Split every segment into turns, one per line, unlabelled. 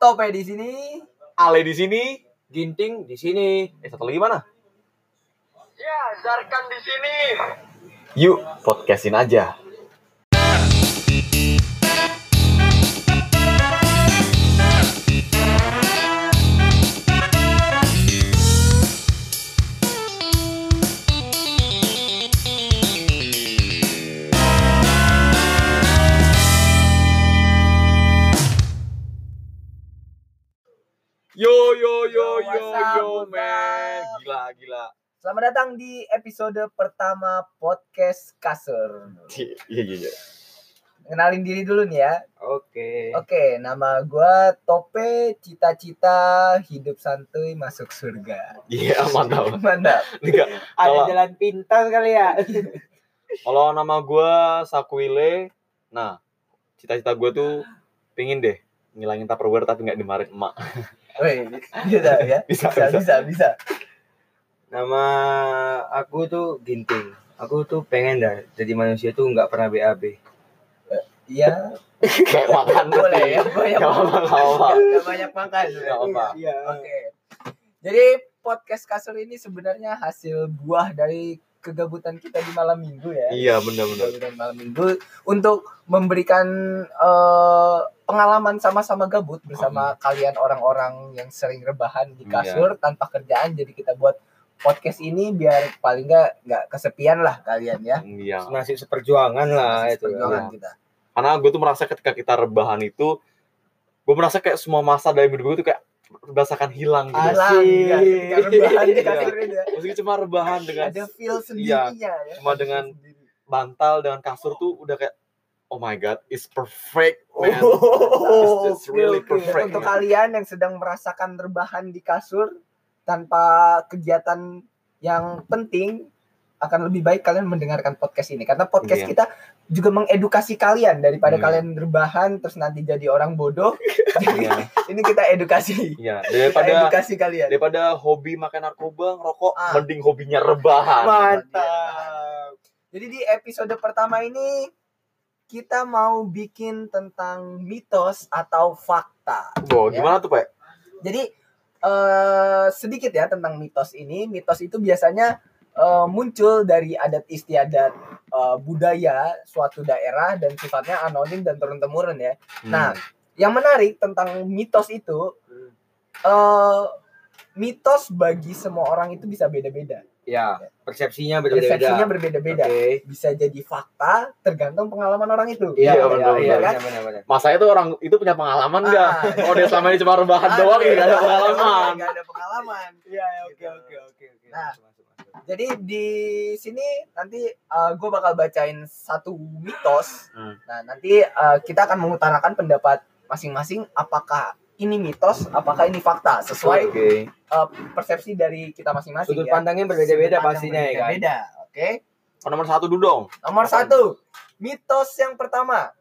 Tope di sini,
Ale di sini,
Ginting di sini.
eh satu lagi mana?
Ya, Zarkan di sini.
Yuk, podcastin aja. Yo yo yo
Yo,
yo
what's up,
yo
what's
man,
up?
gila gila.
Selamat datang di episode pertama podcast Kasur.
Iya iya iya.
Kenalin diri dulu nih ya.
Oke.
Oke, nama gua Tope, cita-cita hidup santuy masuk surga.
Iya mantap.
Mantap.
Enggak. Kalau-
jalan pintas kali ya.
Kalau nama gua Sakwile, nah cita-cita gua tuh pingin deh ngilangin tupperware tapi nggak dimarahin emak.
Wih, bisa ya? bisa,
Bisa, bisa.
bisa. bisa.
nama aku tuh Ginting. Aku tuh pengen dah jadi manusia tuh nggak pernah BAB.
Iya,
Kayak makan
boleh ya. Banyak
Gak apa-apa, gak apa-apa.
Gak banyak makan.
Gak apa-apa.
Iya.
Oke. Jadi podcast kasur ini sebenarnya hasil buah dari kegabutan kita di malam minggu ya.
Iya benar-benar.
Kegabutan malam minggu untuk memberikan eh, pengalaman sama-sama gabut bersama kalian orang-orang yang sering rebahan di
Oh, Iya.
kasur tanpa kerjaan. Jadi kita buat podcast ini biar paling nggak nggak kesepian lah kalian ya.
Iya.
Nasib seperjuangan lah itu.
Perjuangan kita.
Karena gue tuh merasa ketika kita rebahan itu, gue merasa kayak semua masa dari hidup gue tuh kayak merasakan hilang gitu.
Hilang,
Asik.
ya. Ketika rebahan di kasur ini ya.
Maksudnya cuma rebahan Iya. dengan iya,
Ada feel sendirinya ya.
Cuma
Ada feel
dengan-
sendiri.
bantal dengan kasur tuh udah kayak Oh my god, it's perfect, man.
Oh,
It's- it's really
oke, oke.
perfect,
Untuk
man.
kalian yang sedang merasakan rebahan di kasur tanpa kegiatan yang penting, akan lebih baik kalian mendengarkan podcast ini karena podcast
Iya.
kita juga mengedukasi kalian daripada
Iya.
kalian rebahan terus nanti jadi orang bodoh. Jadi,
Iya,
ini kita edukasi.
iya.
Kita
Daripada
edukasi kalian.
daripada hobi makan narkoba ngerokok
Ah.
mending hobinya rebahan
Mantap. Jadi di episode pertama ini kita mau bikin tentang mitos atau fakta.
Wow,
Ya.
gimana tuh pak
Jadi eh sedikit ya tentang mitos ini. Mitos itu biasanya eh, muncul dari adat istiadat eh, budaya suatu daerah dan sifatnya anonim dan turun temurun ya.
Hmm.
Hmm.
Nah, yang menarik tentang mitos itu eh mitos bagi semua orang itu bisa beda-beda.
Ya, persepsinya berbeda-beda.
Persepsinya berbeda-beda.
Oke.
Bisa jadi fakta tergantung pengalaman orang itu.
Iya,
Iya,
benar
benar-benar.
iya,
Kan?
benar-benar.
masa itu orang itu punya pengalaman nggak
Ah. iya.
oh dia selama ini cuma rebahan
Aduh,
doang ya nggak ada
nggak
pengalaman
nggak ada pengalaman.
Iya,
oke, oke,
oke, oke.
Nah. Jadi di sini nanti gue bakal bacain satu mitos.
Hmm.
Nah nanti uh, kita akan mengutarakan pendapat masing-masing apakah ini mitos, apakah ini fakta sesuai
Oke.
uh, persepsi dari kita masing-masing.
Sudut
ya.
pandangnya
Sudut
berbeda-beda
pandang
pastinya ya kan.
Beda, oke.
oh, nomor satu dulu dong
Nomor
Apa?
satu, mitos yang pertama,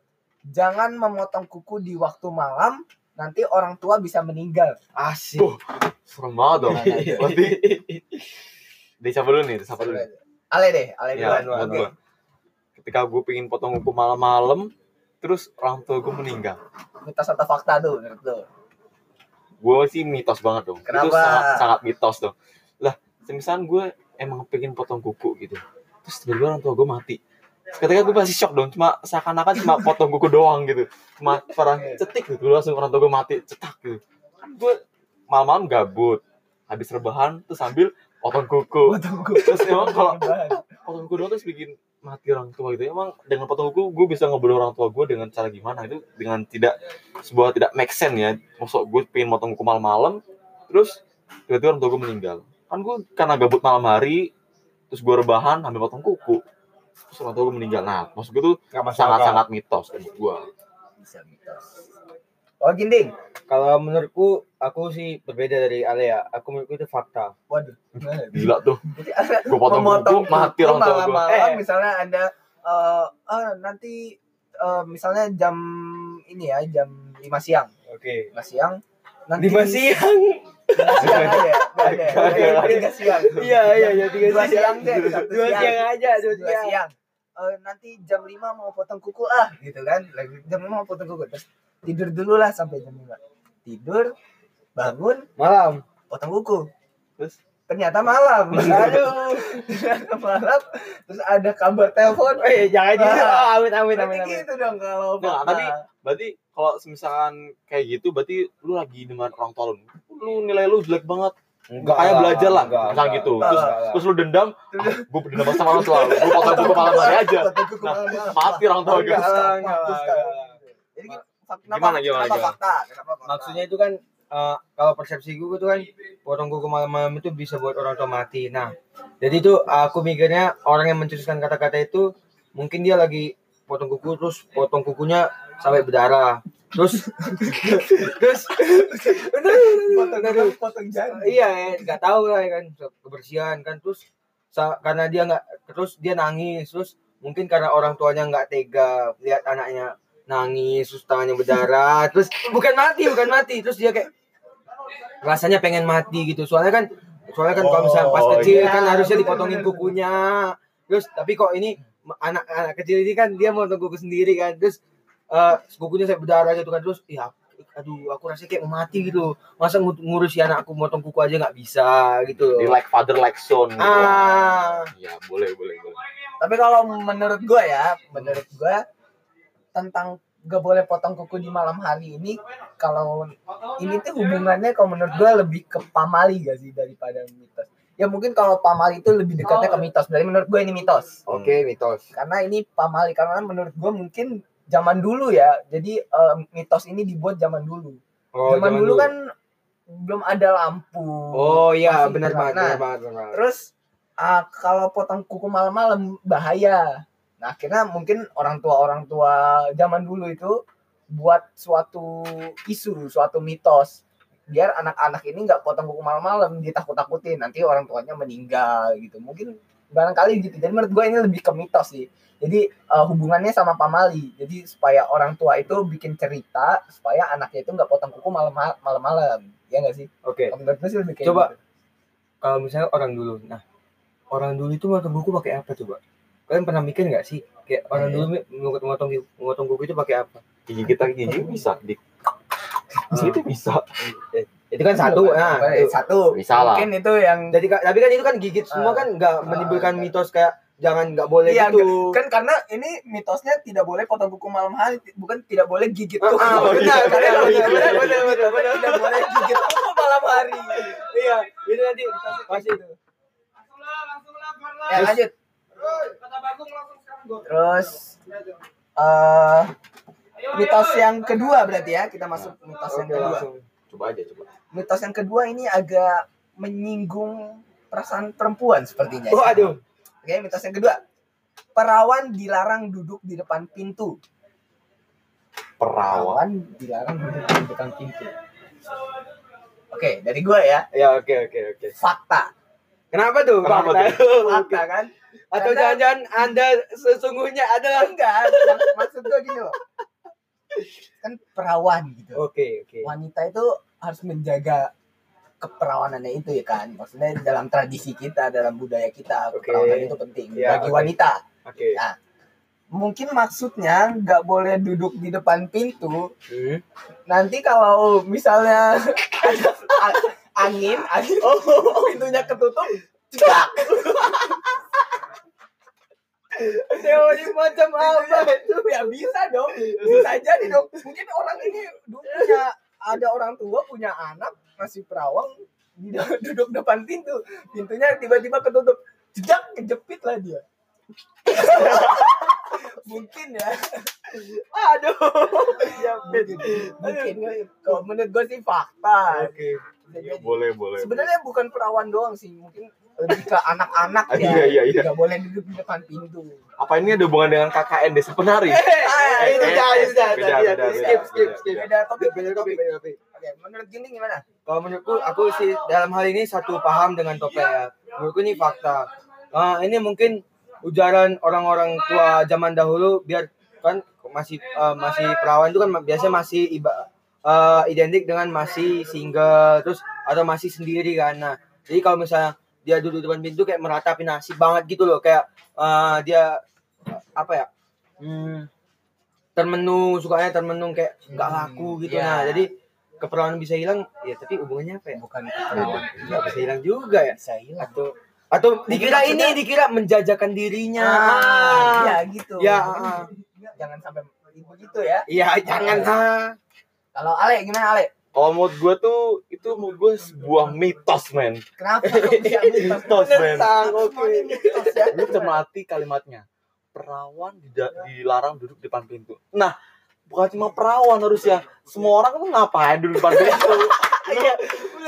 jangan memotong kuku di waktu malam. Nanti orang tua bisa meninggal.
Asik.
Buh. serem banget dong
Iya.
pasti Dia siapa dulu nih siapa dulu nih?
Ale deh, ale
ya
duluan.
menurut
Oke.
gua. ketika gue pingin potong kuku malam-malam terus orang tua gue meninggal
Mitos atau fakta tuh menurut lu?
gue sih mitos banget dong itu
Kenapa?
sangat sangat mitos dong lah semisal gue emang pengen potong kuku gitu terus tiba-tiba orang tua gue mati Terus ketika gue pasti shock dong cuma seakan-akan cuma potong kuku doang gitu cuma orang cetik gitu langsung orang tua gue mati cetak gitu kan gue malam-malam gabut habis rebahan terus sambil potong kuku
Potong kuku.
terus emang kalau
Rebahan.
potong kuku doang terus bikin mati orang tua gitu emang dengan potong kuku gue bisa ngobrol orang tua gue dengan cara gimana itu dengan tidak sebuah tidak make sense ya maksud gue pengen potong kuku malam-malam terus tiba-tiba orang tua gue meninggal kan gue karena gabut malam hari terus gue rebahan ambil potong kuku terus orang tua gue meninggal nah maksud gue tuh
Enggak masalah.
sangat-sangat mitos menurut gue
bisa mitos. Oh ginding,
Kalau menurutku aku sih berbeda dari Alea. Aku menurutku itu fakta.
waduh. gimana?
gila tuh
Jadi ada
gue potong kuku
memotong
mati
kuku
orang tua gue
malam-malam
Eh.
misalnya anda eh eh, nanti eh, misalnya jam ini ya jam 5 siang,
Oke.
5 siang nanti
Lima siang.
Lima siang ada ya? Nggak ada ya?
Nggak ada.
Nggak ada. Tiga siang.
Iya, iya, iya, tiga
Dua
siang.
siang deh, satu
Dua
siang.
siang aja,
Dua
dua siang.
siang. Eh, nanti jam 5 mau potong kuku ah gitu kan. Lagi jam 5 mau potong kuku terus tidur dulu lah sampai jam 5. 3 tidur bangun
Malam.
potong kuku
Terus
ternyata malam
Aduh.
ternyata malam terus ada kabar telepon
Eh, jangan gitu. Ah, Amit amit
Berarti
amit amit.
gitu dong kalau
Nah,
pernah.
tapi berarti kalau misalkan kayak gitu berarti lu lagi dengan orang tua lu. Lu nilai lu jelek banget. Enggak kayak belajar lah, misalnya gitu.
Enggak
Terus
lah.
terus lu dendam,
Terus-
ah, gua dendam banget sama orang tua lu. Lu potong gua kepala hari aja.
Potong kuku
Nah,
malam-malam.
Mati orang tua gua.
Enggak lah, enggak lah,
Hapus,
enggak
kan.
lah. Jadi gitu, fak- kenapa,
Gimana, gimana,
kenapa
gimana?
fakta? Kenapa fakta?
Maksudnya itu kan eh, kalau persepsi gue tuh kan potong kuku malam-malam itu bisa buat orang tua mati. Nah, jadi itu aku mikirnya orang yang mencetuskan kata-kata itu mungkin dia lagi potong kuku terus potong kukunya sampai berdarah. Terus terus
potong
Aduh.
kuku, potong jari.
iya ya, nggak tahu lah ya kan kebersihan kan terus sa- karena dia nggak terus dia nangis terus mungkin karena orang tuanya nggak tega lihat anaknya nangis terus tangannya berdarah terus bukan mati bukan mati terus dia kayak rasanya pengen mati gitu soalnya kan soalnya kan kalau misalnya pas
Oh,
kecil
iya.
kan harusnya
Bener,
dipotongin
bener,
kukunya terus tapi kok ini anak anak kecil ini kan dia mau kuku sendiri kan terus eh kukunya saya berdarah gitu kan terus ya aduh aku rasanya kayak mau mati gitu masa ngu- ngurus si anakku motong kuku aja nggak bisa gitu
Di
loh
like father like son gitu.
ah
Ya, boleh, boleh, boleh.
Tapi kalau menurut gue ya, menurut gue tentang gak boleh potong kuku di malam hari ini kalau ini tuh hubungannya kalau menurut gue lebih ke pamali gak sih daripada mitos ya mungkin kalau pamali itu lebih dekatnya ke mitos berarti menurut gue ini mitos
oke mitos
karena ini pamali karena menurut gue mungkin zaman dulu ya jadi eh, mitos ini dibuat zaman dulu
oh,
zaman, dulu, kan belum ada lampu
oh
Masih
iya
Nah.
benar banget
berwarna.
benar banget benar banget.
Terus ah, kalau potong kuku malam-malam bahaya. Nah, akhirnya mungkin orang tua orang tua zaman dulu itu buat suatu isu, suatu mitos biar anak-anak ini nggak potong kuku malam-malam ditakut-takutin nanti orang tuanya meninggal gitu mungkin barangkali gitu jadi menurut gue ini lebih ke mitos sih jadi eh, hubungannya sama pamali jadi supaya orang tua itu bikin cerita supaya anaknya itu nggak potong kuku malam malam-malam ya nggak sih
oke
Kalau menurut gue sih lebih kayak
Coba.
gitu.
kalau misalnya orang dulu nah orang dulu itu motong kuku pakai apa coba kalian pernah mikir nggak sih kayak orang
Iya.
dulu mi- motong motong motong kuku itu pakai apa
Gigi kita gigi bisa, di situ bisa.
itu kan satu nah
Eh,
itu.
satu
Bisa lah.
mungkin itu yang
jadi ka- tapi kan itu kan gigit semua
Ah.
kan nggak
Ah,
menimbulkan
enggak.
mitos kayak jangan nggak boleh
Iya,
gitu
kan karena ini mitosnya tidak boleh potong kuku malam hari bukan tidak boleh gigit
Ah,
kuku
ah,
Oh, iya,
benar,
Karena
benar, benar, benar,
tidak
benar, benar,
boleh-
benar.
tidak boleh gigit kuku malam hari
Iya, itu Ya, nanti masih
Langsung lah, langsung lah, Bar lah.
ya lanjut
Roy, Kata Bagong langsung sekarang gua.
terus
Ayo, ayo.
eh
Ayo,
mitos
ayo.
yang kedua berarti ya kita masuk mitos yang
oke
kedua
langsung.
Coba aja, coba.
mitos yang kedua ini agak menyinggung perasaan perempuan sepertinya
Oh,
ya.
aduh.
Oke, mitos yang kedua. Perawan dilarang duduk di depan pintu.
Perawan.
Perawan dilarang duduk di depan pintu. Oke, dari gua ya.
Ya, oke, oke, oke.
Fakta.
Kenapa tuh?
Kenapa
Fakta?
Fakta kan?
Atau
Karena-
jangan-jangan Anda sesungguhnya adalah
Enggak, mak- maksud gua gini loh. Kan perawan gitu.
Oke, oke.
Wanita itu harus menjaga keperawanannya itu ya kan. Maksudnya dalam tradisi kita, dalam budaya kita,
Oke.
keperawanan itu penting
Ya,
bagi
oke.
wanita.
Oke.
Mungkin maksudnya nggak boleh duduk di depan pintu
Hmm.
Iya.
nanti kalau misalnya ada a- angin, angin oh, pintunya ketutup, cedak. Teori macam apa itu? Ya bisa dong, bisa jadi dong. Mungkin orang ini dulu punya ada orang tua punya anak masih perawang di- duduk depan pintu, pintunya tiba-tiba ketutup, cedak kejepit lah dia. Mungkin ya.
Aduh.
Mungkin, mungkin ya. kalau menurut gue sih fakta.
Oke.
Bisa
Iya,
jadi.
boleh, boleh.
Sebenarnya bukan perawan doang sih, mungkin lebih ke anak-anak
Ah,
ya.
iya, iya, iya.
Gak boleh duduk di depan pintu.
apa ini ada hubungan dengan KKN Desa Penari?
Ah,
Eh,
itu
eh,
jangan,
eh,
itu jangan,
beda,
jangan.
beda, beda,
Skip, skip,
beda,
skip.
beda.
Beda topik.
Beda topik, beda topik.
Oke, menurut gini gimana?
Kalau menurutku, aku sih dalam hal ini satu paham dengan topik ya. Menurutku ini fakta. Ah, ini mungkin ujaran orang-orang tua zaman dahulu biar kan masih eh, masih perawan itu kan biasanya masih iba, eh, identik dengan masih single terus atau masih sendiri kan. Nah, jadi kalau misalnya dia duduk depan pintu kayak meratapi nasib banget gitu loh kayak eh, dia eh, apa ya? Hmm, termenung sukanya termenung kayak nggak laku gitu
Iya.
nah. Jadi keperawanan bisa hilang ya tapi hubungannya apa ya
bukan keterlaluan
nggak bisa hilang juga ya
Ah. Iya, bisa hilang
atau atau
Mungkin
dikira ini
maksudnya-
dikira menjajakan
Ya.
dirinya
Ah, ya gitu
Ya.
jangan sampai begitu ya
iya jangan ah
kalau Ale gimana Ale
Kalau menurut gue tuh itu menurut gue sebuah mitos men.
kenapa kok bisa mitos
Mitos men.
Tentang,
Semua ini mitos ya
Lu cermati kalimatnya. Perawan dida- dilarang duduk depan pintu. Nah, bukan cuma perawan harusnya. Semua orang tuh ngapain duduk depan pintu? Iya,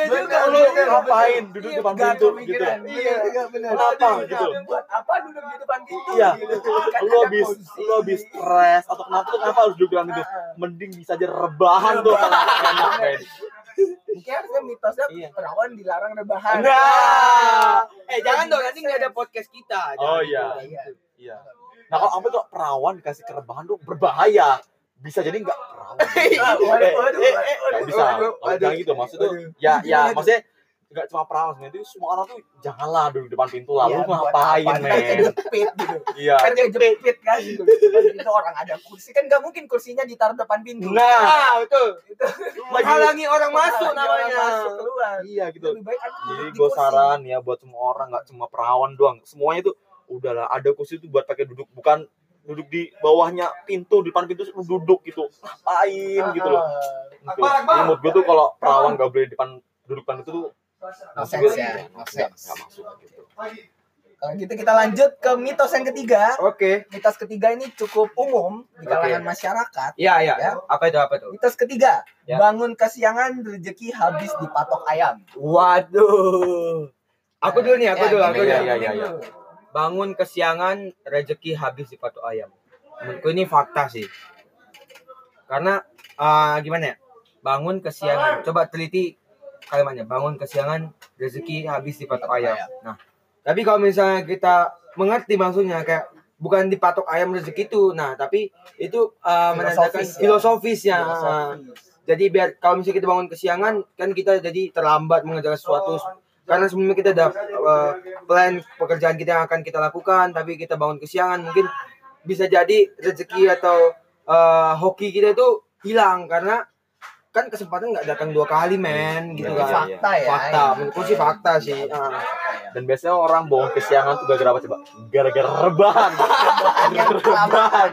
juga,
lu
bener,
ngapain duduk
Iya,
depan
nggak
pintu gitu?
kepikiran. Bener juga, bener.
Kenapa
Aduh,
gitu?
buat apa duduk di depan pintu
Iya.
gitu. Kan
Lu
ada
habis
posisi.
lu habis stres atau kenapa tuh kenapa harus duduk depan pintu?
Ah, ah.
Mending bisa aja rebahan tuh. Enak, men.
Mungkin harusnya kan mitosnya
Iya.
perawan dilarang rebahan.
Nah, eh jangan dong nanti nggak ada podcast kita.
Oh,
Jangan.
iya.
Iya.
Iya. Nah kalau sampai tuh perawan dikasih kerebahan tuh berbahaya. Bisa jadi nggak perawan.
Ah, waduh, waduh,
Eh, eh,
waduh.
Gak bisa.
Waduh,
Kalau jangan gitu maksudnya ya ya maksudnya nggak cuma perawan sebenarnya itu semua orang tuh janganlah duduk depan pintu lah. Lu
Iya, buat
ngapain
apa? Kan
men?
kejepit gitu.
Iya.
Kan kejepit kan gitu. Kan Itu orang ada kursi kan nggak mungkin kursinya ditaruh depan pintu.
Nah,
Ah, betul.
Itu
lagi
Menghalangi orang masuk namanya.
Iya, Masuk keluar.
iya gitu.
Lebih baik aku
Jadi
duduk di
gue
kursi.
saran ya buat semua orang nggak cuma perawan doang. Semuanya tuh udahlah ada kursi tuh buat pakai duduk bukan duduk di bawahnya pintu di depan pintu lu duduk gitu ngapain gitu loh
Ah,
Gitu. Jadi menurut gue tuh kalau perawan gak boleh di depan duduk depan itu tuh
No
maksud
sense
gua-
ya, no
nggak-
sense.
nggak masuk gitu.
Kalau gitu kita lanjut ke mitos yang ketiga.
Oke.
Mitos ketiga ini cukup umum di kalangan
Oke.
masyarakat.
Iya, iya.
Ya.
Apa itu apa tuh?
Mitos ketiga,
Ya.
bangun kesiangan rezeki habis dipatok ayam.
Waduh. Aku dulu nih, aku
Ya,
dulu,
gimana,
ya,
aku dulu.
ya, ya, ya.
Bangun kesiangan, rezeki habis di patok ayam. Menurutku ini fakta sih. Karena ah, gimana ya? Bangun kesiangan. Coba teliti kalimatnya. Bangun kesiangan, rezeki habis di patok ayam. Nah, tapi kalau misalnya kita mengerti maksudnya kayak bukan dipatok ayam rezeki itu. Nah, tapi itu ah, menandakan Ah.
Filosofis ya.
filosofisnya.
Filosofis.
Jadi biar kalau misalnya kita bangun kesiangan kan kita jadi terlambat mengejar sesuatu karena sebelumnya kita ada eh, plan pekerjaan kita yang akan kita lakukan tapi kita bangun kesiangan mungkin bisa jadi rezeki atau eh, hoki kita itu hilang karena kan kesempatan nggak datang dua kali men gitu
Itu
Iya,
kan.
iya.
fakta ya.
Fakta, menurutku sih fakta sih. Ah.
Dan biasanya orang bohong kesiangan tuh gara-gara apa coba? Gara-gara rebahan.
Hanya
rebahan.
kelamaan.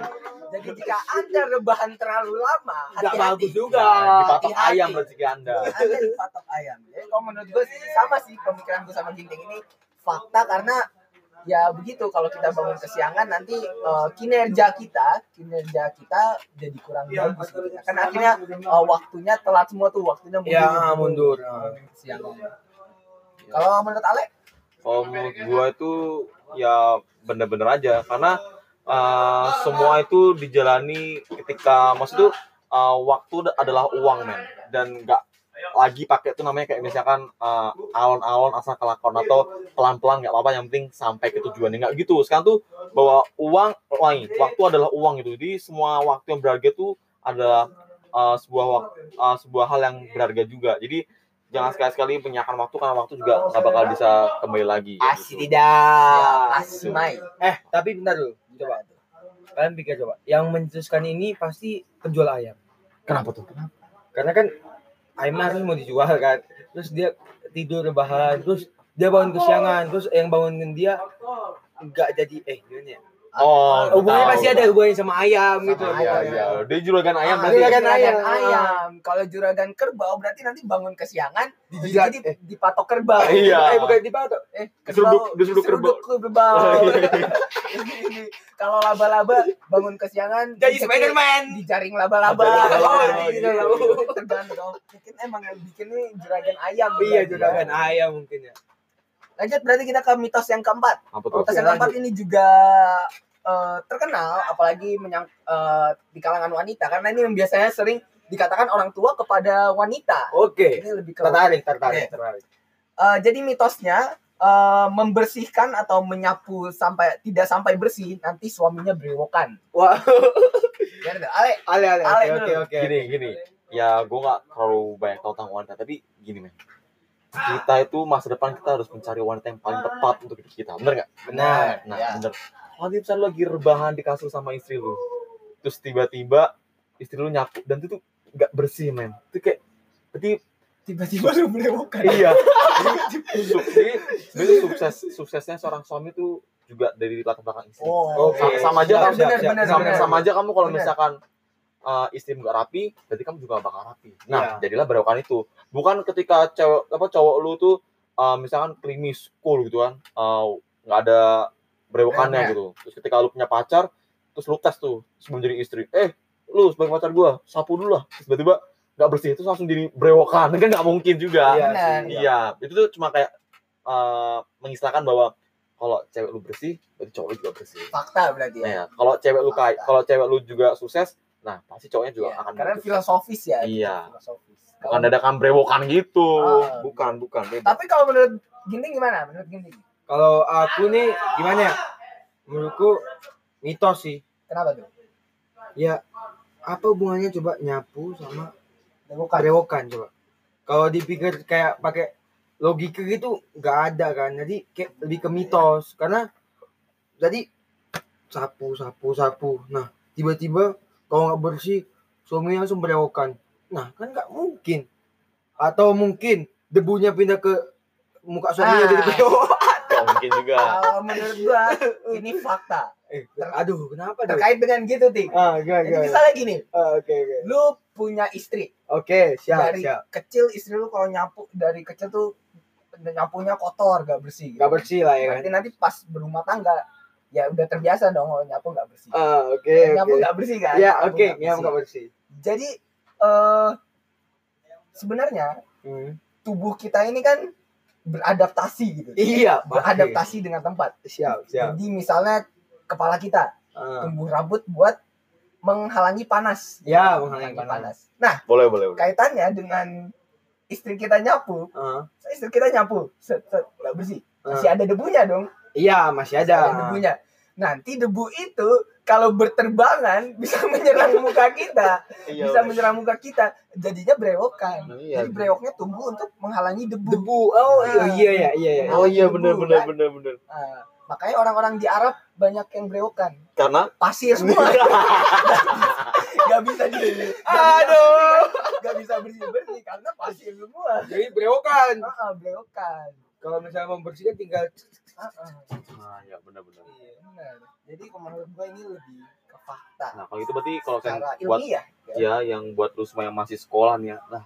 Jadi jika anda rebahan terlalu lama,
Nggak bagus juga.
Nah, dipatok
Hati-hati.
ayam rezeki Anda.
Anda dipatok ayam. Jadi kalau menurut gue sih sama sih pemikiran gue sama Ginting ini fakta karena ya begitu kalau kita bangun kesiangan nanti eh, kinerja kita kinerja kita jadi kurang bagus gitu. kan akhirnya eh, waktunya telat semua tuh waktunya mundur
Ya mundur.
kesiangan Iya. kalau menurut Ale
Kalau menurut gua itu ya bener-bener aja karena eh, semua itu dijalani ketika maksud tuh eh, waktu adalah uang men dan nggak lagi pakai tuh namanya kayak misalkan eh, alon-alon asal kelakon atau pelan-pelan nggak apa-apa yang penting sampai ke tujuannya nggak gitu sekarang tuh bahwa uang uang waktu adalah uang gitu jadi semua waktu yang berharga tuh adalah eh, sebuah wak- eh, sebuah hal yang berharga juga jadi jangan sekali-sekali menyia-nyiakan waktu karena waktu juga nggak bakal bisa kembali lagi ya
Asli
gitu.
Iya,
tidak.
Asmai
Eh tapi bentar dulu. Coba. Kalian pikir coba. Yang mencetuskan ini pasti penjual ayam.
kenapa tuh
karena kan ayamnya harus mau dijual kan terus dia tidur rebahan terus dia bangun kesiangan terus yang bangunin dia nggak jadi eh gimana ya
oh
hubungannya
tahu.
pasti ada hubungannya sama ayam
Sama
gitu
iya iya kan? dia juragan ayam
Ah,
berarti
juragan ayam.
ayam.
Kalau juragan kerbau berarti nanti bangun kesiangan
Dijilat,
jadi dipatok kerbau.
eh. Iya.
eh bukan di patok
Eh,
Diseruduk- diseruduk kerbau. Oh, iya.
diseruduk kerbau. Kalau laba-laba bangun kesiangan
jadi
dicekik
Spiderman
di jaring laba-laba. iya,
Jadi
oh
laba-laba. Iya,
di- di- di-
Tergantung. Mungkin emang yang bikin nih juragan ayam.
iya
berarti ya.
juragan ayam mungkin ya
Lanjut berarti kita ke mitos yang keempat.
apa tuh
Mitos yang keempat ini juga eh, terkenal apalagi menyang, eh, di kalangan wanita karena ini yang biasanya sering dikatakan orang tua kepada wanita.
oke
Ini lebih ke
tertarik tertarik
Oke.
tertarik
Eh, jadi mitosnya eh, membersihkan atau menyapu sampai tidak sampai bersih nanti suaminya brewokan.
wah
Bener nggak? Ale,
ale ale
Ale
oke
dulu.
oke oke
gini gini ya gue nggak terlalu banyak tahu tentang wanita tapi gini men kita itu masa depan kita harus mencari wanita yang paling tepat untuk hidup kita bener nggak
Benar,
nah
ya.
bener kalau dia misalnya lu lagi rebahan di kasur sama istri lu terus tiba-tiba istri lu nyapu dan itu tuh nggak bersih men itu kayak Jadi
tiba-tiba lu bukan
iya jadi, su- jadi sebenarnya sukses suksesnya seorang suami itu juga dari latar belakang istri
oh
Oke.
Sa- sama aja
Siap,
kan
siap,
benar,
sama,
benar.
sama aja kamu kalau
Benar.
misalkan eh, istri nggak rapi berarti kamu juga nggak bakal rapi nah
Iya.
jadilah berokan itu bukan ketika cewek apa cowok lu tuh eh, misalkan klimis cool gitu kan eh, nggak ada berewokannya
Iya.
Benar.
gitu terus ketika lu punya pacar terus lu tes tuh sebelum jadi istri eh lu sebagai pacar gua sapu dulu lah Terus tiba-tiba nggak bersih terus langsung jadi berewokan kan nggak mungkin juga
Iya
Benar.
sih, iya.
Iya, itu tuh cuma kayak eh mengistilahkan bahwa kalau cewek lu bersih, berarti cowok lu juga bersih.
fakta berarti ya,
Nah, ya, kalau cewek lu kaya, kalau cewek lu juga sukses, nah pasti cowoknya juga
Iya,
akan
karena
sukses.
filosofis ya
Iya.
filosofis
bukan dadakan brewokan gitu.
Ah.
bukan, bukan. beda.
tapi kalau menurut Ginting gimana menurut Ginting
Kalau aku nih gimana ya? Menurutku mitos sih.
kenapa tuh
Ya apa hubungannya coba nyapu sama Ya,
bukan
berewokan coba? Kalau dipikir kayak pakai logika gitu nggak ada kan. Jadi kayak lebih ke mitos karena jadi sapu sapu sapu. Nah tiba-tiba kalau nggak bersih suaminya langsung berewokan. Nah kan nggak mungkin. Atau mungkin debunya pindah ke muka
Ah.
suaminya jadi berewok.
Nggak mungkin juga.
kalau menurut gua ini fakta
Eh, aduh kenapa dong?
terkait dengan gitu ting
Ah, gak,
jadi
gak.
misalnya gini
Ah, Oke, oke.
lu punya istri
Oke, siap,
dari
siap.
kecil istri lu kalau nyapu dari kecil tuh nyapunya kotor gak bersih gitu.
Gak bersih lah ya kan?
nanti nanti pas berumah tangga ya udah terbiasa dong kalau nyapu nggak bersih
Ah, oke,
nyapu
oke.
nggak bersih kan
Ya,
Nyapu
oke,
nggak
ya
bersih.
gak bersih.
jadi eh sebenarnya
Hmm.
tubuh kita ini kan beradaptasi gitu
Iya, pasti. Ya.
beradaptasi dengan tempat
Siap, siap.
jadi misalnya kepala kita
Ah.
tumbuh rambut buat menghalangi panas
Ya, menghalangi panas.
nah
Boleh, boleh, boleh.
kaitannya dengan istri kita nyapu
Ah,
istri kita nyapu set, set, nggak bersih
ah.
masih ada debunya dong
Iya, masih
Masih ada
ada.
debunya. Nanti debu itu kalau berterbangan bisa menyerang muka kita,
Iya,
bisa menyerang muka kita, jadinya brewokan.
Iya.
Jadi brewoknya tumbuh untuk menghalangi debu.
Debu. Oh, iya, iya, iya, iya. iya.
Oh
gitu,
iya, bener,
kan?
bener, bener, bener.
Nah, makanya orang-orang di Arab banyak yang brewokan.
Karena
Pasir semua. gak bisa di
Aduh.
Gak bisa bersih-bersih karena pasir semua.
Jadi brewokan.
Heeh, brewokan.
Kalau misalnya membersihkan tinggal
Heeh.
Ah, ya bener, bener.
Iya, benar. Jadi kalau menurut gue ini lebih ke fakta.
Nah, kalau itu berarti kalau kan
Secara
buat
ilmiah.
ya yang buat lu semua yang masih sekolah nih ya. Nah,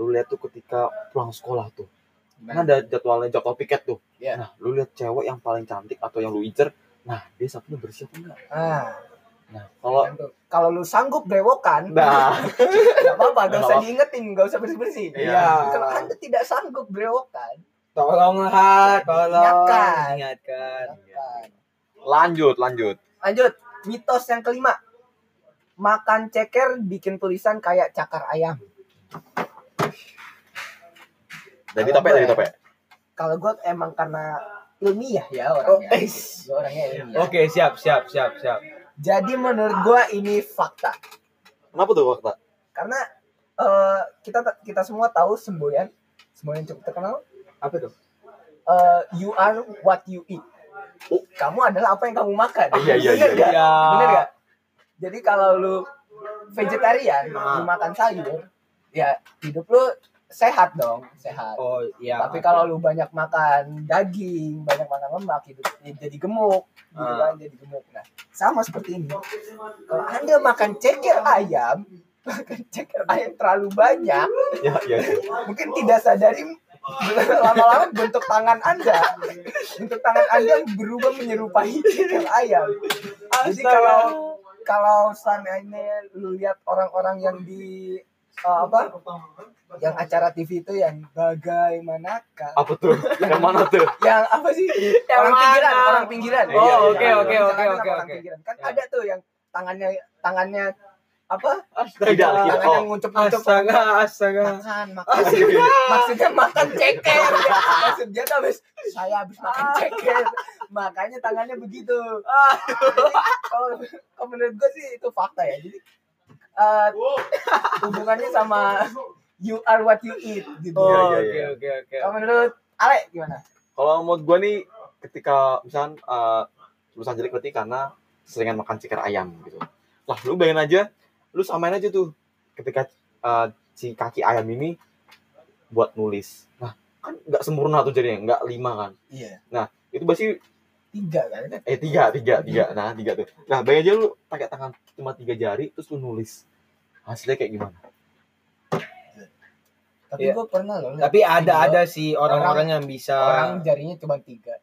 lu lihat tuh ketika pulang sekolah tuh. Kan ada jadwalnya jadwal piket tuh.
Iya.
Nah, lu lihat cewek yang paling cantik atau yang lu incer, nah dia sapunya bersih apa enggak?
Ah.
Nah, kalau
Tergantung. Kalau lu sanggup brewokan,
nah,
nggak apa-apa, gak usah
Nggak apa-apa.
diingetin, gak usah bersih-bersih.
Iya.
Kalau anda tidak sanggup brewokan,
tolonglah, tolong.
Ingatkan.
Ingatkan.
Nah. Iya.
kan.
lanjut, lanjut.
lanjut mitos yang kelima, makan ceker bikin tulisan kayak cakar ayam.
Dari
Kalau
topik,
gue-
dari topik.
Kalau gue emang karena ilmiah ya
Oh,
orangnya,
eh.
Gua orangnya ilmiah.
Oh.
Oke, siap, siap, siap, siap.
Jadi menurut gue ini fakta,
Kenapa tuh waktu?
karena eh, kita kita semua tahu semboyan, semboyan cukup terkenal.
Apa tuh?
eh, you are what you eat. Kamu adalah apa yang kamu makan.
Oh. Iya, iya,
Bener
iya,
nggak?
iya.
Bener nggak? Jadi kalau lu vegetarian,
Ah.
lu makan sayur, ya hidup lu sehat dong, sehat.
Oh, iya.
Tapi kalau lu banyak makan daging, banyak makan lemak, hidup ya jadi gemuk, gitu
Ah.
kan, jadi gemuk. Nah, sama seperti ini. Kalau anda makan ceker ayam, makan ceker ayam terlalu banyak,
Ya, ya. ya.
mungkin tidak sadari lama-lama bentuk tangan anda bentuk tangan anda berubah menyerupai ceker ayam jadi kalau kalau seandainya lu lihat orang-orang yang di eh, apa yang acara TV itu yang bagaimanakah
Apa tuh? Yang mana tuh?
yang apa sih
Yang
orang pinggiran
mana?
orang pinggiran
Oh,
Iya,
oke,
iya,
oke,
iya.
oke,
Jangan
oke,
sama orang
oke.
pinggiran kan
Iya.
ada tuh yang tangannya tangannya apa
Tidak, tidak.
tangannya
Oh.
Ah,
nguncup-nguncup
Astaga, astaga.
makan makan maksudnya makan ceker maksudnya tuh habis saya habis makan
Ah.
ceker makanya tangannya begitu Ah, Jadi, kalau kalau menurut gue sih itu fakta ya jadi eh, hubungannya sama you are what you eat gitu
Iya,
Oh,
iya,
Oke,
iya.
oke, oke.
kalau menurut Ale gimana
Kalau menurut gua nih ketika misalkan eh lulusan jelek berarti karena seringan makan ceker ayam gitu. Lah, lu bayangin aja, lu samain aja tuh ketika eh, si kaki ayam ini buat nulis. Nah, kan nggak sempurna tuh jadinya, nggak lima kan.
Iya.
Itu pasti
Tiga kan?
eh tiga, tiga, tiga. Nah, tiga tuh. Nah, bayangin aja lu pakai tangan cuma tiga jari terus lu nulis. Hasilnya kayak gimana?
Tapi
Iya.
gue pernah loh. liat
Tapi ada
video
ada sih orang-orang yang bisa
Orang jarinya cuma tiga.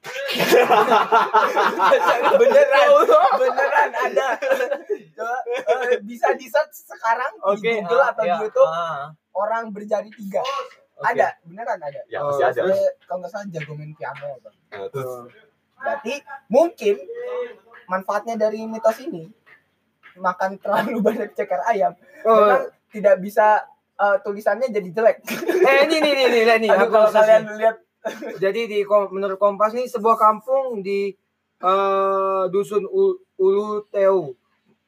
beneran, beneran ada. Coba, eh, bisa di search sekarang di
ah,
Google atau
ya, Iya.
di YouTube orang berjari tiga. Ada, beneran ada.
Ya,
Oh,
pasti ada.
Gue kalau nggak salah jago main piano. Bang.
Nah, terus
Berarti mungkin manfaatnya dari mitos ini makan terlalu banyak ceker ayam
Oh,
memang tidak bisa eh, tulisannya jadi jelek.
eh ini nih nih nih nih.
Aduh,
aku
kalau
khusus
kalian
nih.
lihat
Jadi di kom- menurut Kompas nih sebuah kampung di eh, dusun U- Ulu Teu,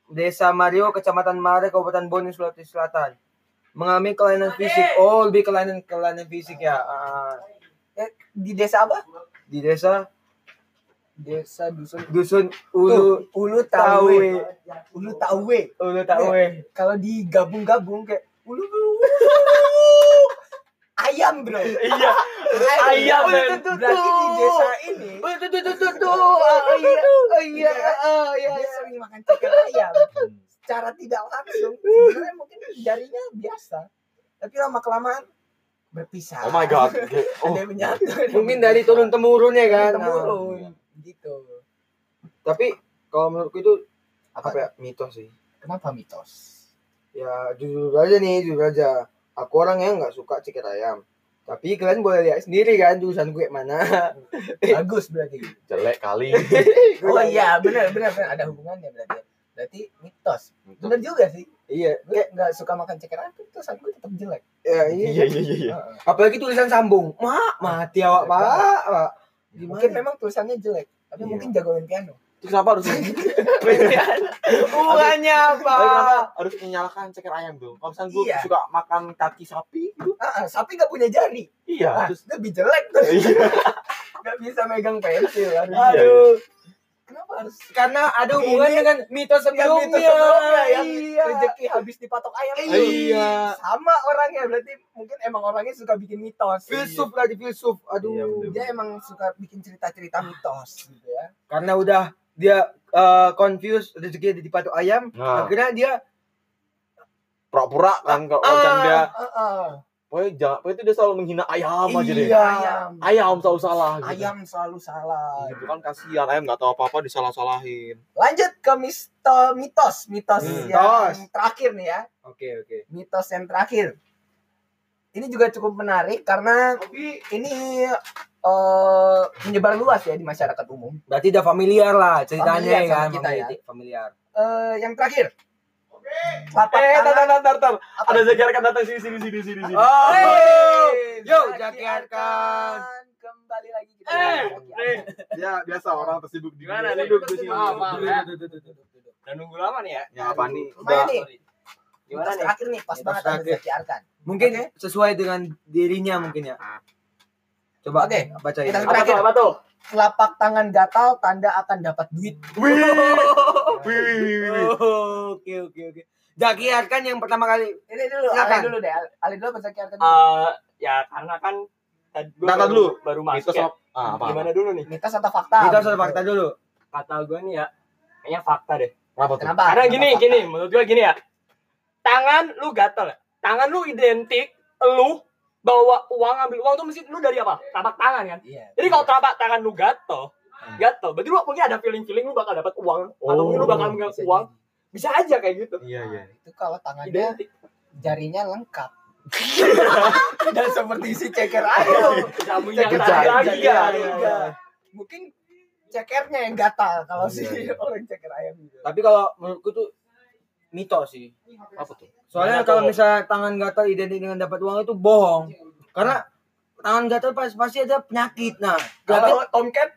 Desa Mario, Kecamatan Mare, Kabupaten Bone, Sulawesi Selatan. Mengalami kelainan fisik. Oh, lebih kelainan kelainan fisik ya. Ah,
eh, di desa apa?
di desa
Desa dusun
dusun Ulu
Ulu Ulu Tawe.
Tawe.
Ulu Tawe.
Ulu Tawe.
Kalau digabung-gabung kayak Ulu Ulu. Ayam, Bro. Oh,
Iya,
Ayam.
ayam. men.
Berarti di desa ini
Tuh tuh tuh tuh tuh.
Oh,
Ah, Iya iya ah, iya.
dia
iya.
sering makan ceker ayam.
Hmm.
Cara tidak langsung sebenarnya mungkin jarinya biasa. Tapi lama kelamaan berpisah.
Oh my god. Oh,
Ada yang menyatu. ada yang
Mungkin dari turun temurun ya kan. Ah.
temurun gitu.
Tapi kalau menurutku itu
Apa,
apa ya mitos sih.
Kenapa mitos?
Ya jujur aja nih jujur aja. Aku orang yang nggak suka ceker ayam. Tapi kalian boleh lihat sendiri kan jurusan gue yang mana.
Iya.
Bagus berarti.
jelek kali.
Oh iya, benar benar benar. ada hubungannya berarti. Berarti mitos. Benar juga sih.
Iya.
Gue nggak suka makan ceker ayam, tapi tulisan gue tetap jelek.
Ya, iya.
Iya, iya, iya, iya.
Heeh.
Apalagi tulisan sambung. Mak, mati awak, Pak. Pak. Gimana?
Mungkin memang tulisannya jelek, tapi
Iya.
mungkin jago main piano.
Terus kenapa harus
Hubungannya apa?
Tapi kenapa kan harus menyalahkan ceker ayam tuh? Kalau misalnya gue
Iya.
suka makan kaki sapi gitu.
Ah, ah, sapi nggak punya jari.
Iya,
Ah,
terus
lebih jelek tuh.
Iya.
Nggak bisa megang pensil. Aduh.
Iya.
Aduh,
Kenapa harus
karena ada hubungan
Ini-
dengan mitos
yang
sebelumnya.
mitos Iya, gitu. sebelumnya ya. yang
iya.
rezeki habis dipatok ayam itu.
Iya.
Sama orangnya berarti mungkin emang orangnya suka bikin mitos.
filsuf lagi filsuf aduh
Iya, bener.
Dia emang suka bikin cerita-cerita mitos gitu ya.
karena udah dia eh, confused rezeki ada di patok ayam
Nah.
akhirnya dia
pura-pura kan kalau kalau misalnya dia
Heeh.
pokoknya jangan pokoknya itu dia selalu menghina ayam aja deh.
Iya.
Ayam.
Ayam selalu salah gitu.
Ayam selalu salah.
Gitu kan kasihan ayam nggak tahu apa-apa disalah-salahin.
Lanjut ke misto- mitos, mitos
Hmm.
yang
Mitos.
terakhir nih ya.
oke oke
Mitos yang terakhir. Ini juga cukup menarik karena ini eh, menyebar luas ya di masyarakat umum.
berarti udah familiar lah ceritanya
Familiar
ya
sama
kan
kita ya.
Famili- familiar
Eh, yang terakhir. Telapak
Eh, tar,
tangan.
tar, tar, tar.
Apa?
Ada Zakir akan datang sini, sini, sini, sini. sini.
Oh,
Hey,
yo,
Zaki
Zaki
Arkan.
Arkan.
Kembali lagi kita.
Ya biasa orang tersibuk di
Gimana nih?
Duduk, duduk,
Maaf,
duduk.
maaf, ya. Udah nunggu lama nih ya.
Ya apa nih?
Lumayan
Udah.
nih.
Gimana
mitos
nih?
terakhir nih pas
Mitos
banget ada
terakhir.
Zaki Arkan.
mungkin
Oke. Ah.
sesuai dengan dirinya mungkin ya coba
Oke.
baca
Kita
ya
Apa
Terakhir.
tuh? Apa tuh?
Telapak tangan gatal tanda akan dapat duit.
Wih, wih, wih, wih, wih.
oke oke oke Zaki Arkan yang pertama kali
Ini dulu,
Silakan.
Ali dulu deh. Ali dulu apa Zaki Arkan dulu?
Eh, ya karena kan tadi gua
Ntar, ntar
baru-
dulu.
baru
Mitos
masuk ya.
apa? Ah, apa?
Gimana dulu nih?
Mitos atau fakta?
kita harus ada fakta dulu
Kata gue nih ya, kayaknya fakta deh.
Kenapa tuh?
Kenapa?
Karena
Kenapa
gini,
fakta?
gini, menurut gue gini ya. Tangan lu gatel ya. Tangan lu identik, lu bawa uang ambil uang tuh mesti lu dari apa? Telapak tangan kan.
Iya.
Jadi kalau telapak tangan lu gatel,
Hmm.
gatel, berarti lu mungkin ada feeling-feeling lu bakal dapat uang atau mungkin lu
Oh,
bakal menganggap
Bisa
uang. Bisa aja kayak gitu.
Iya, iya.
jadi. Itu kalau tangannya
Identik.
jarinya lengkap. Tidak seperti si ceker ayam.
Kamu yang
Ceker
tadi
ayam,
lagi
ceker
ya.
ayam.
Iya.
Mungkin cekernya yang gatal kalau si
Iya, iya.
orang ceker ayam gitu.
tapi kalau menurutku tuh mitos sih
Apa tuh?
Soalnya
Gimana
kalau
tuh?
misalnya tangan gatal identik dengan dapat uang itu bohong. Karena tangan gatal pasti pasti ada penyakit. Nah,
Kalau
gatal
Tomcat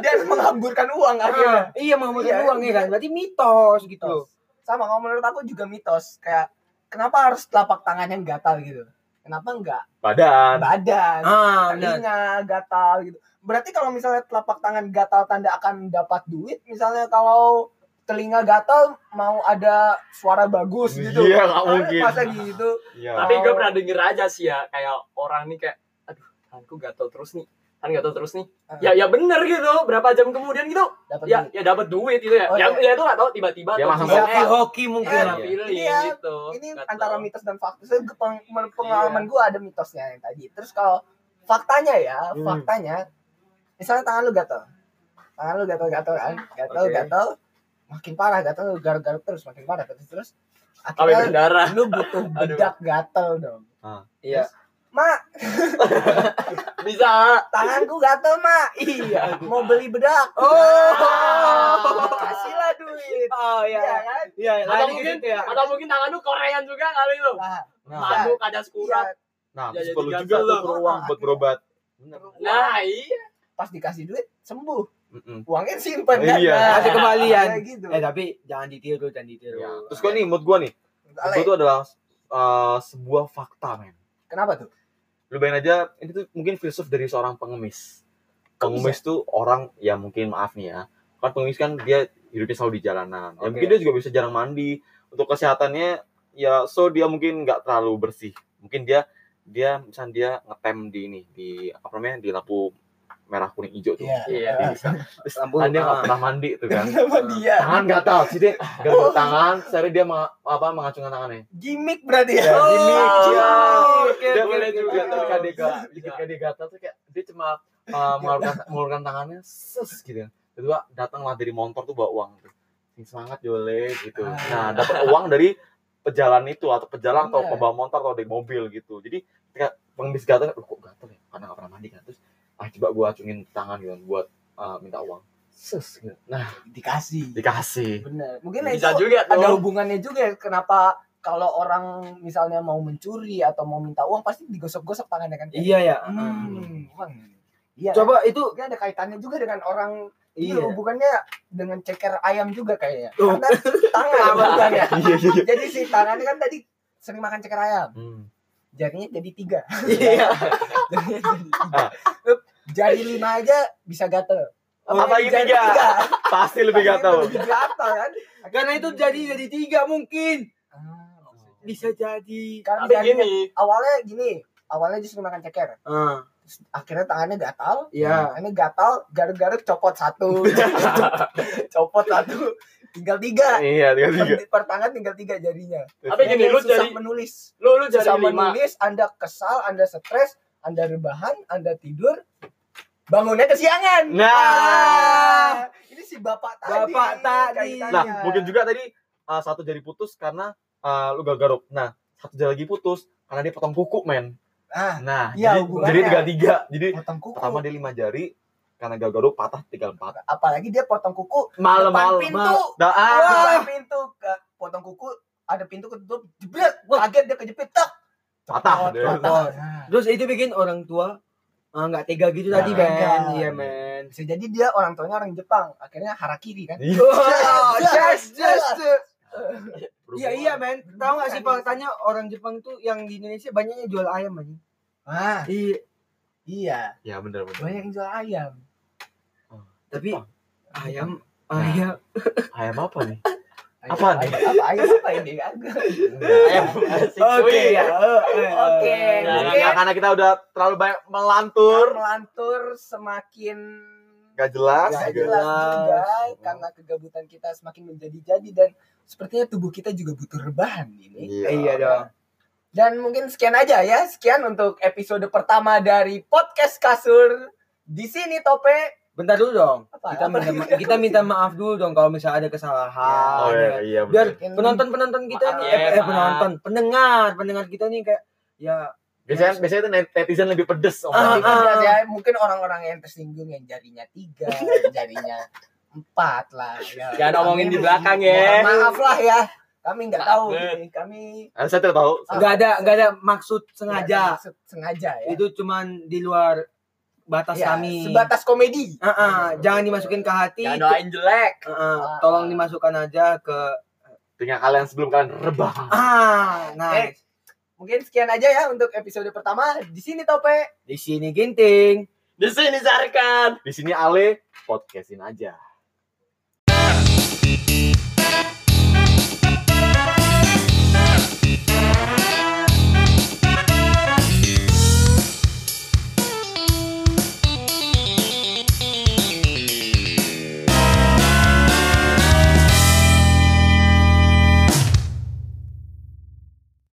dia menghamburkan uang akhirnya.
Ah, iya mau
Iya.
uang ya kan. Berarti mitos gitu. loh.
Sama kalau menurut aku juga mitos kayak kenapa harus telapak tangannya yang gatal gitu? Kenapa enggak
Badan.
badan?
Ah, benar.
telinga gatal gitu. Berarti kalau misalnya telapak tangan gatal tanda akan dapat duit, misalnya kalau telinga gatal mau ada suara bagus gitu.
Iya, nggak mungkin.
Masa gitu.
Iya.
Tapi gue pernah denger aja sih ya kayak orang nih kayak aduh tanganku gatel terus nih. Tangan gatel terus nih.
Ah.
Ya ya bener gitu. Berapa jam kemudian gitu
Dapat
ya ya dapat duit gitu ya.
Oh,
ya,
iya.
ya itu gak tahu tiba-tiba
Ya,
atau
masang
bisa-
hoki,
eh,
hoki mungkin
eh,
lah.
feeling
Iya,
gitu.
ini
Nggak
antara
tahu.
mitos dan fakta. Saya ke- peng-
Iya.
men- pengalaman gue ada mitosnya yang tadi. Terus kalau faktanya ya,
Hmm.
faktanya, misalnya tangan lu gatel, tangan lu gatel-gatel kan,
Oke.
gatel-gatal, makin parah gatel lu garuk-garuk terus, makin parah terus terus.
Sampai
Akhirnya
berdarah.
lu butuh bedak gatel dong.
Iya.
Mak,
Bisa.
tanganku gatel mak. Iya, mau beli bedak.
Oh.
kasihlah duit.
Oh
Iya
iya.
kan?
Iya,
Atau
lari ke
mungkin
situ ya.
atau mungkin tangan lu korean juga kali lu.
Nah,
Nah,
Mabuk
iya.
ada skurat.
nah
Ya,
terus
jadi
perlu juga
gagal
tuh
lah.
ke ruang buat berobat.
Nah, iya.
Pas dikasih duit sembuh,
Mm-mm.
uangnya simpen kan.
Iya.
Nah,
Kasih kembalian.
kayak gitu.
Eh tapi jangan ditiru, jangan ditiru.
Iya. Terus gue nih, mood gue nih,
Ale,
itu adalah eh, sebuah fakta men.
Kenapa tuh?
lu bayangin aja ini tuh mungkin filsuf dari seorang pengemis
Kok
pengemis tuh orang ya mungkin maaf nih ya kan pengemis kan dia hidupnya selalu di jalanan ya
Oke.
mungkin dia juga bisa jarang mandi untuk kesehatannya ya so dia mungkin nggak terlalu bersih mungkin dia dia misalnya dia ngetem di ini di apa namanya di lampu merah kuning hijau tuh
Iya.
Iya.
Dia bisa. Terus
Lampu,
kan dia nggak
ah.
pernah mandi tuh kan
Kenapa dia?
tangan nggak tahu sih dia gara tangan sehari dia menga- apa mengacungkan tangannya
Gimik berarti ya.
Ya, gimmick,
iya.
Oke,
dia
oke,
boleh
oke,
juga Iya.
oke.
ketika dia ga-
Bisa.
ketika dia gatal tuh kayak dia cuma uh, mengeluarkan mengeluarkan tangannya ses gitu kedua datanglah dari motor tuh bawa uang tuh Sing semangat jole gitu nah dapat uang dari pejalan itu atau pejalan atau
Bener.
pembawa motor atau dari mobil gitu jadi ketika pengemis gatal "Loh, kok gatal ya karena nggak pernah mandi kan terus ah coba gua acungin tangan gitu buat uh, minta uang ses gitu nah
Dikasih.
dikasih
Bener. Mungkin itu
Bisa juga
ada
tuh.
hubungannya juga ya, kenapa kalau orang misalnya mau mencuri atau mau minta uang pasti digosok-gosok tangannya kan.
Iya ya.
Hmm, uang. Iya. Coba
Coba itu
ada kaitannya juga dengan orang iya.
iya.
hubungannya dengan ceker ayam juga kayaknya.
Oh.
Karena tangan hubungannya.
iya iya iya
Jadi si tangannya kan tadi sering makan ceker ayam.
Hmm.
Jarinya jadi tiga.
Iya.
Jarinya jadi tiga. Jari lima aja bisa gatel.
Apalagi
Jari
tiga. pasti lebih gatal
Lebih gatel kan.
Karena itu jadi jadi tiga mungkin.
Ah,
Bisa jadi.
Kan
Tapi
jarinya-
gini,
awalnya gini, awalnya justru makan ceker.
Ah,
Terus akhirnya tangannya gatal,
iya.
tangannya gatal, garuk-garuk copot satu, copot satu, tinggal tiga.
iya tiga tiga
Per, per tangan tinggal tiga jarinya.
Tapi gini,
Anda
lu
susah
jadi-
menulis,
lu lu jadi
susah
lima.
menulis, Anda kesal, Anda stres, Anda rebahan, Anda tidur, bangunnya kesiangan.
Nah.
Ah, ini si bapak tadi.
Bapak tadi.
kaitannya.
Nah, mungkin juga tadi uh, satu jari putus karena uh, lu garuk. Nah, satu jari lagi putus karena dia potong kuku, men.
Ah,
Nah,
Iya,
jadi
hubungannya.
jadi tiga tiga. Jadi
potong kuku.
pertama dia lima jari karena gak garuk patah tinggal empat.
Apalagi dia potong kuku depan
Malam-malam.
pintu.
Nah, ah.
Wah, pintu ke potong kuku, ada pintu ketutup, jebret, kaget dia kejepit, tak. Copot,
Patah deh.
patah.
Terus itu bikin orang tua ah, nggak tega gitu
Nah.
tadi, Ben.
Tega.
Iya, men.
Bisa jadi dia orang tuanya orang Jepang, akhirnya harakiri kan.
Iya.
Oh,
Yes,
yes, yes.
Berhubungan.
Iya, iya, men. Tahu nggak sih faktanya orang Jepang tuh yang di Indonesia banyaknya jual ayam, anjing.
Ah,
Iya.
iya,
Iya, bener bener.
banyak yang jual ayam.
Tapi ayam
Nah.
ayam
Ayam apa nih?
Ayam,
Apaan
ayam,
nih?
apa ayam apa ini?
Ayam.
Oke ya.
Oke.
Nah,
Mungkin-
nah, karena kita udah terlalu banyak melantur,
Tur melantur semakin
gak jelas.
nggak
juga.
jelas juga
Jelas.
karena kegabutan kita semakin menjadi-jadi dan sepertinya tubuh kita juga butuh rebahan ini.
Iya dong.
Dan mungkin sekian aja ya. Sekian untuk episode pertama dari podcast kasur. Di sini Tope.
Bentar dulu dong.
Apa? Apa?
Kita minta ma- kita minta maaf dulu dong kalau misalnya ada kesalahan.
Oh
ya
iya,
kan?
iya.
Biar
bener.
Mungkin-
penonton-penonton kita nih
Maaf.
eh, eh, penonton, pendengar, pendengar kita nih kayak ya
biasanya biasanya itu netizen lebih pedes.
Ah,
Mungkin
omongannya.
ah.
ada ya, mungkin orang-orang yang tersinggung yang jarinya tiga, jarinya empat lah. Ya,
Jangan omongin di belakang ya.
Mohon Maaf lah ya. Kami nggak
Maaf,
tahu.
Bet.
ini. Kami
Ah, Saya tidak tahu.
Ah.
nggak ada nggak ada maksud
nggak ada
sengaja.
maksud sengaja ya.
Itu cuman di luar batas
Ya,
kami.
Sebatas komedi.
Ah, ah, jangan dimasukin ke hati.
Jangan doain jelek.
Ah, ah, tolong dimasukkan aja ke
tinggal kalian sebelum kalian rebah.
ah nah
Eh. Mungkin sekian aja ya untuk episode pertama. Di sini Tope.
di sini ginting
Di sini Zarkan.
Di sini Ale podcastin aja.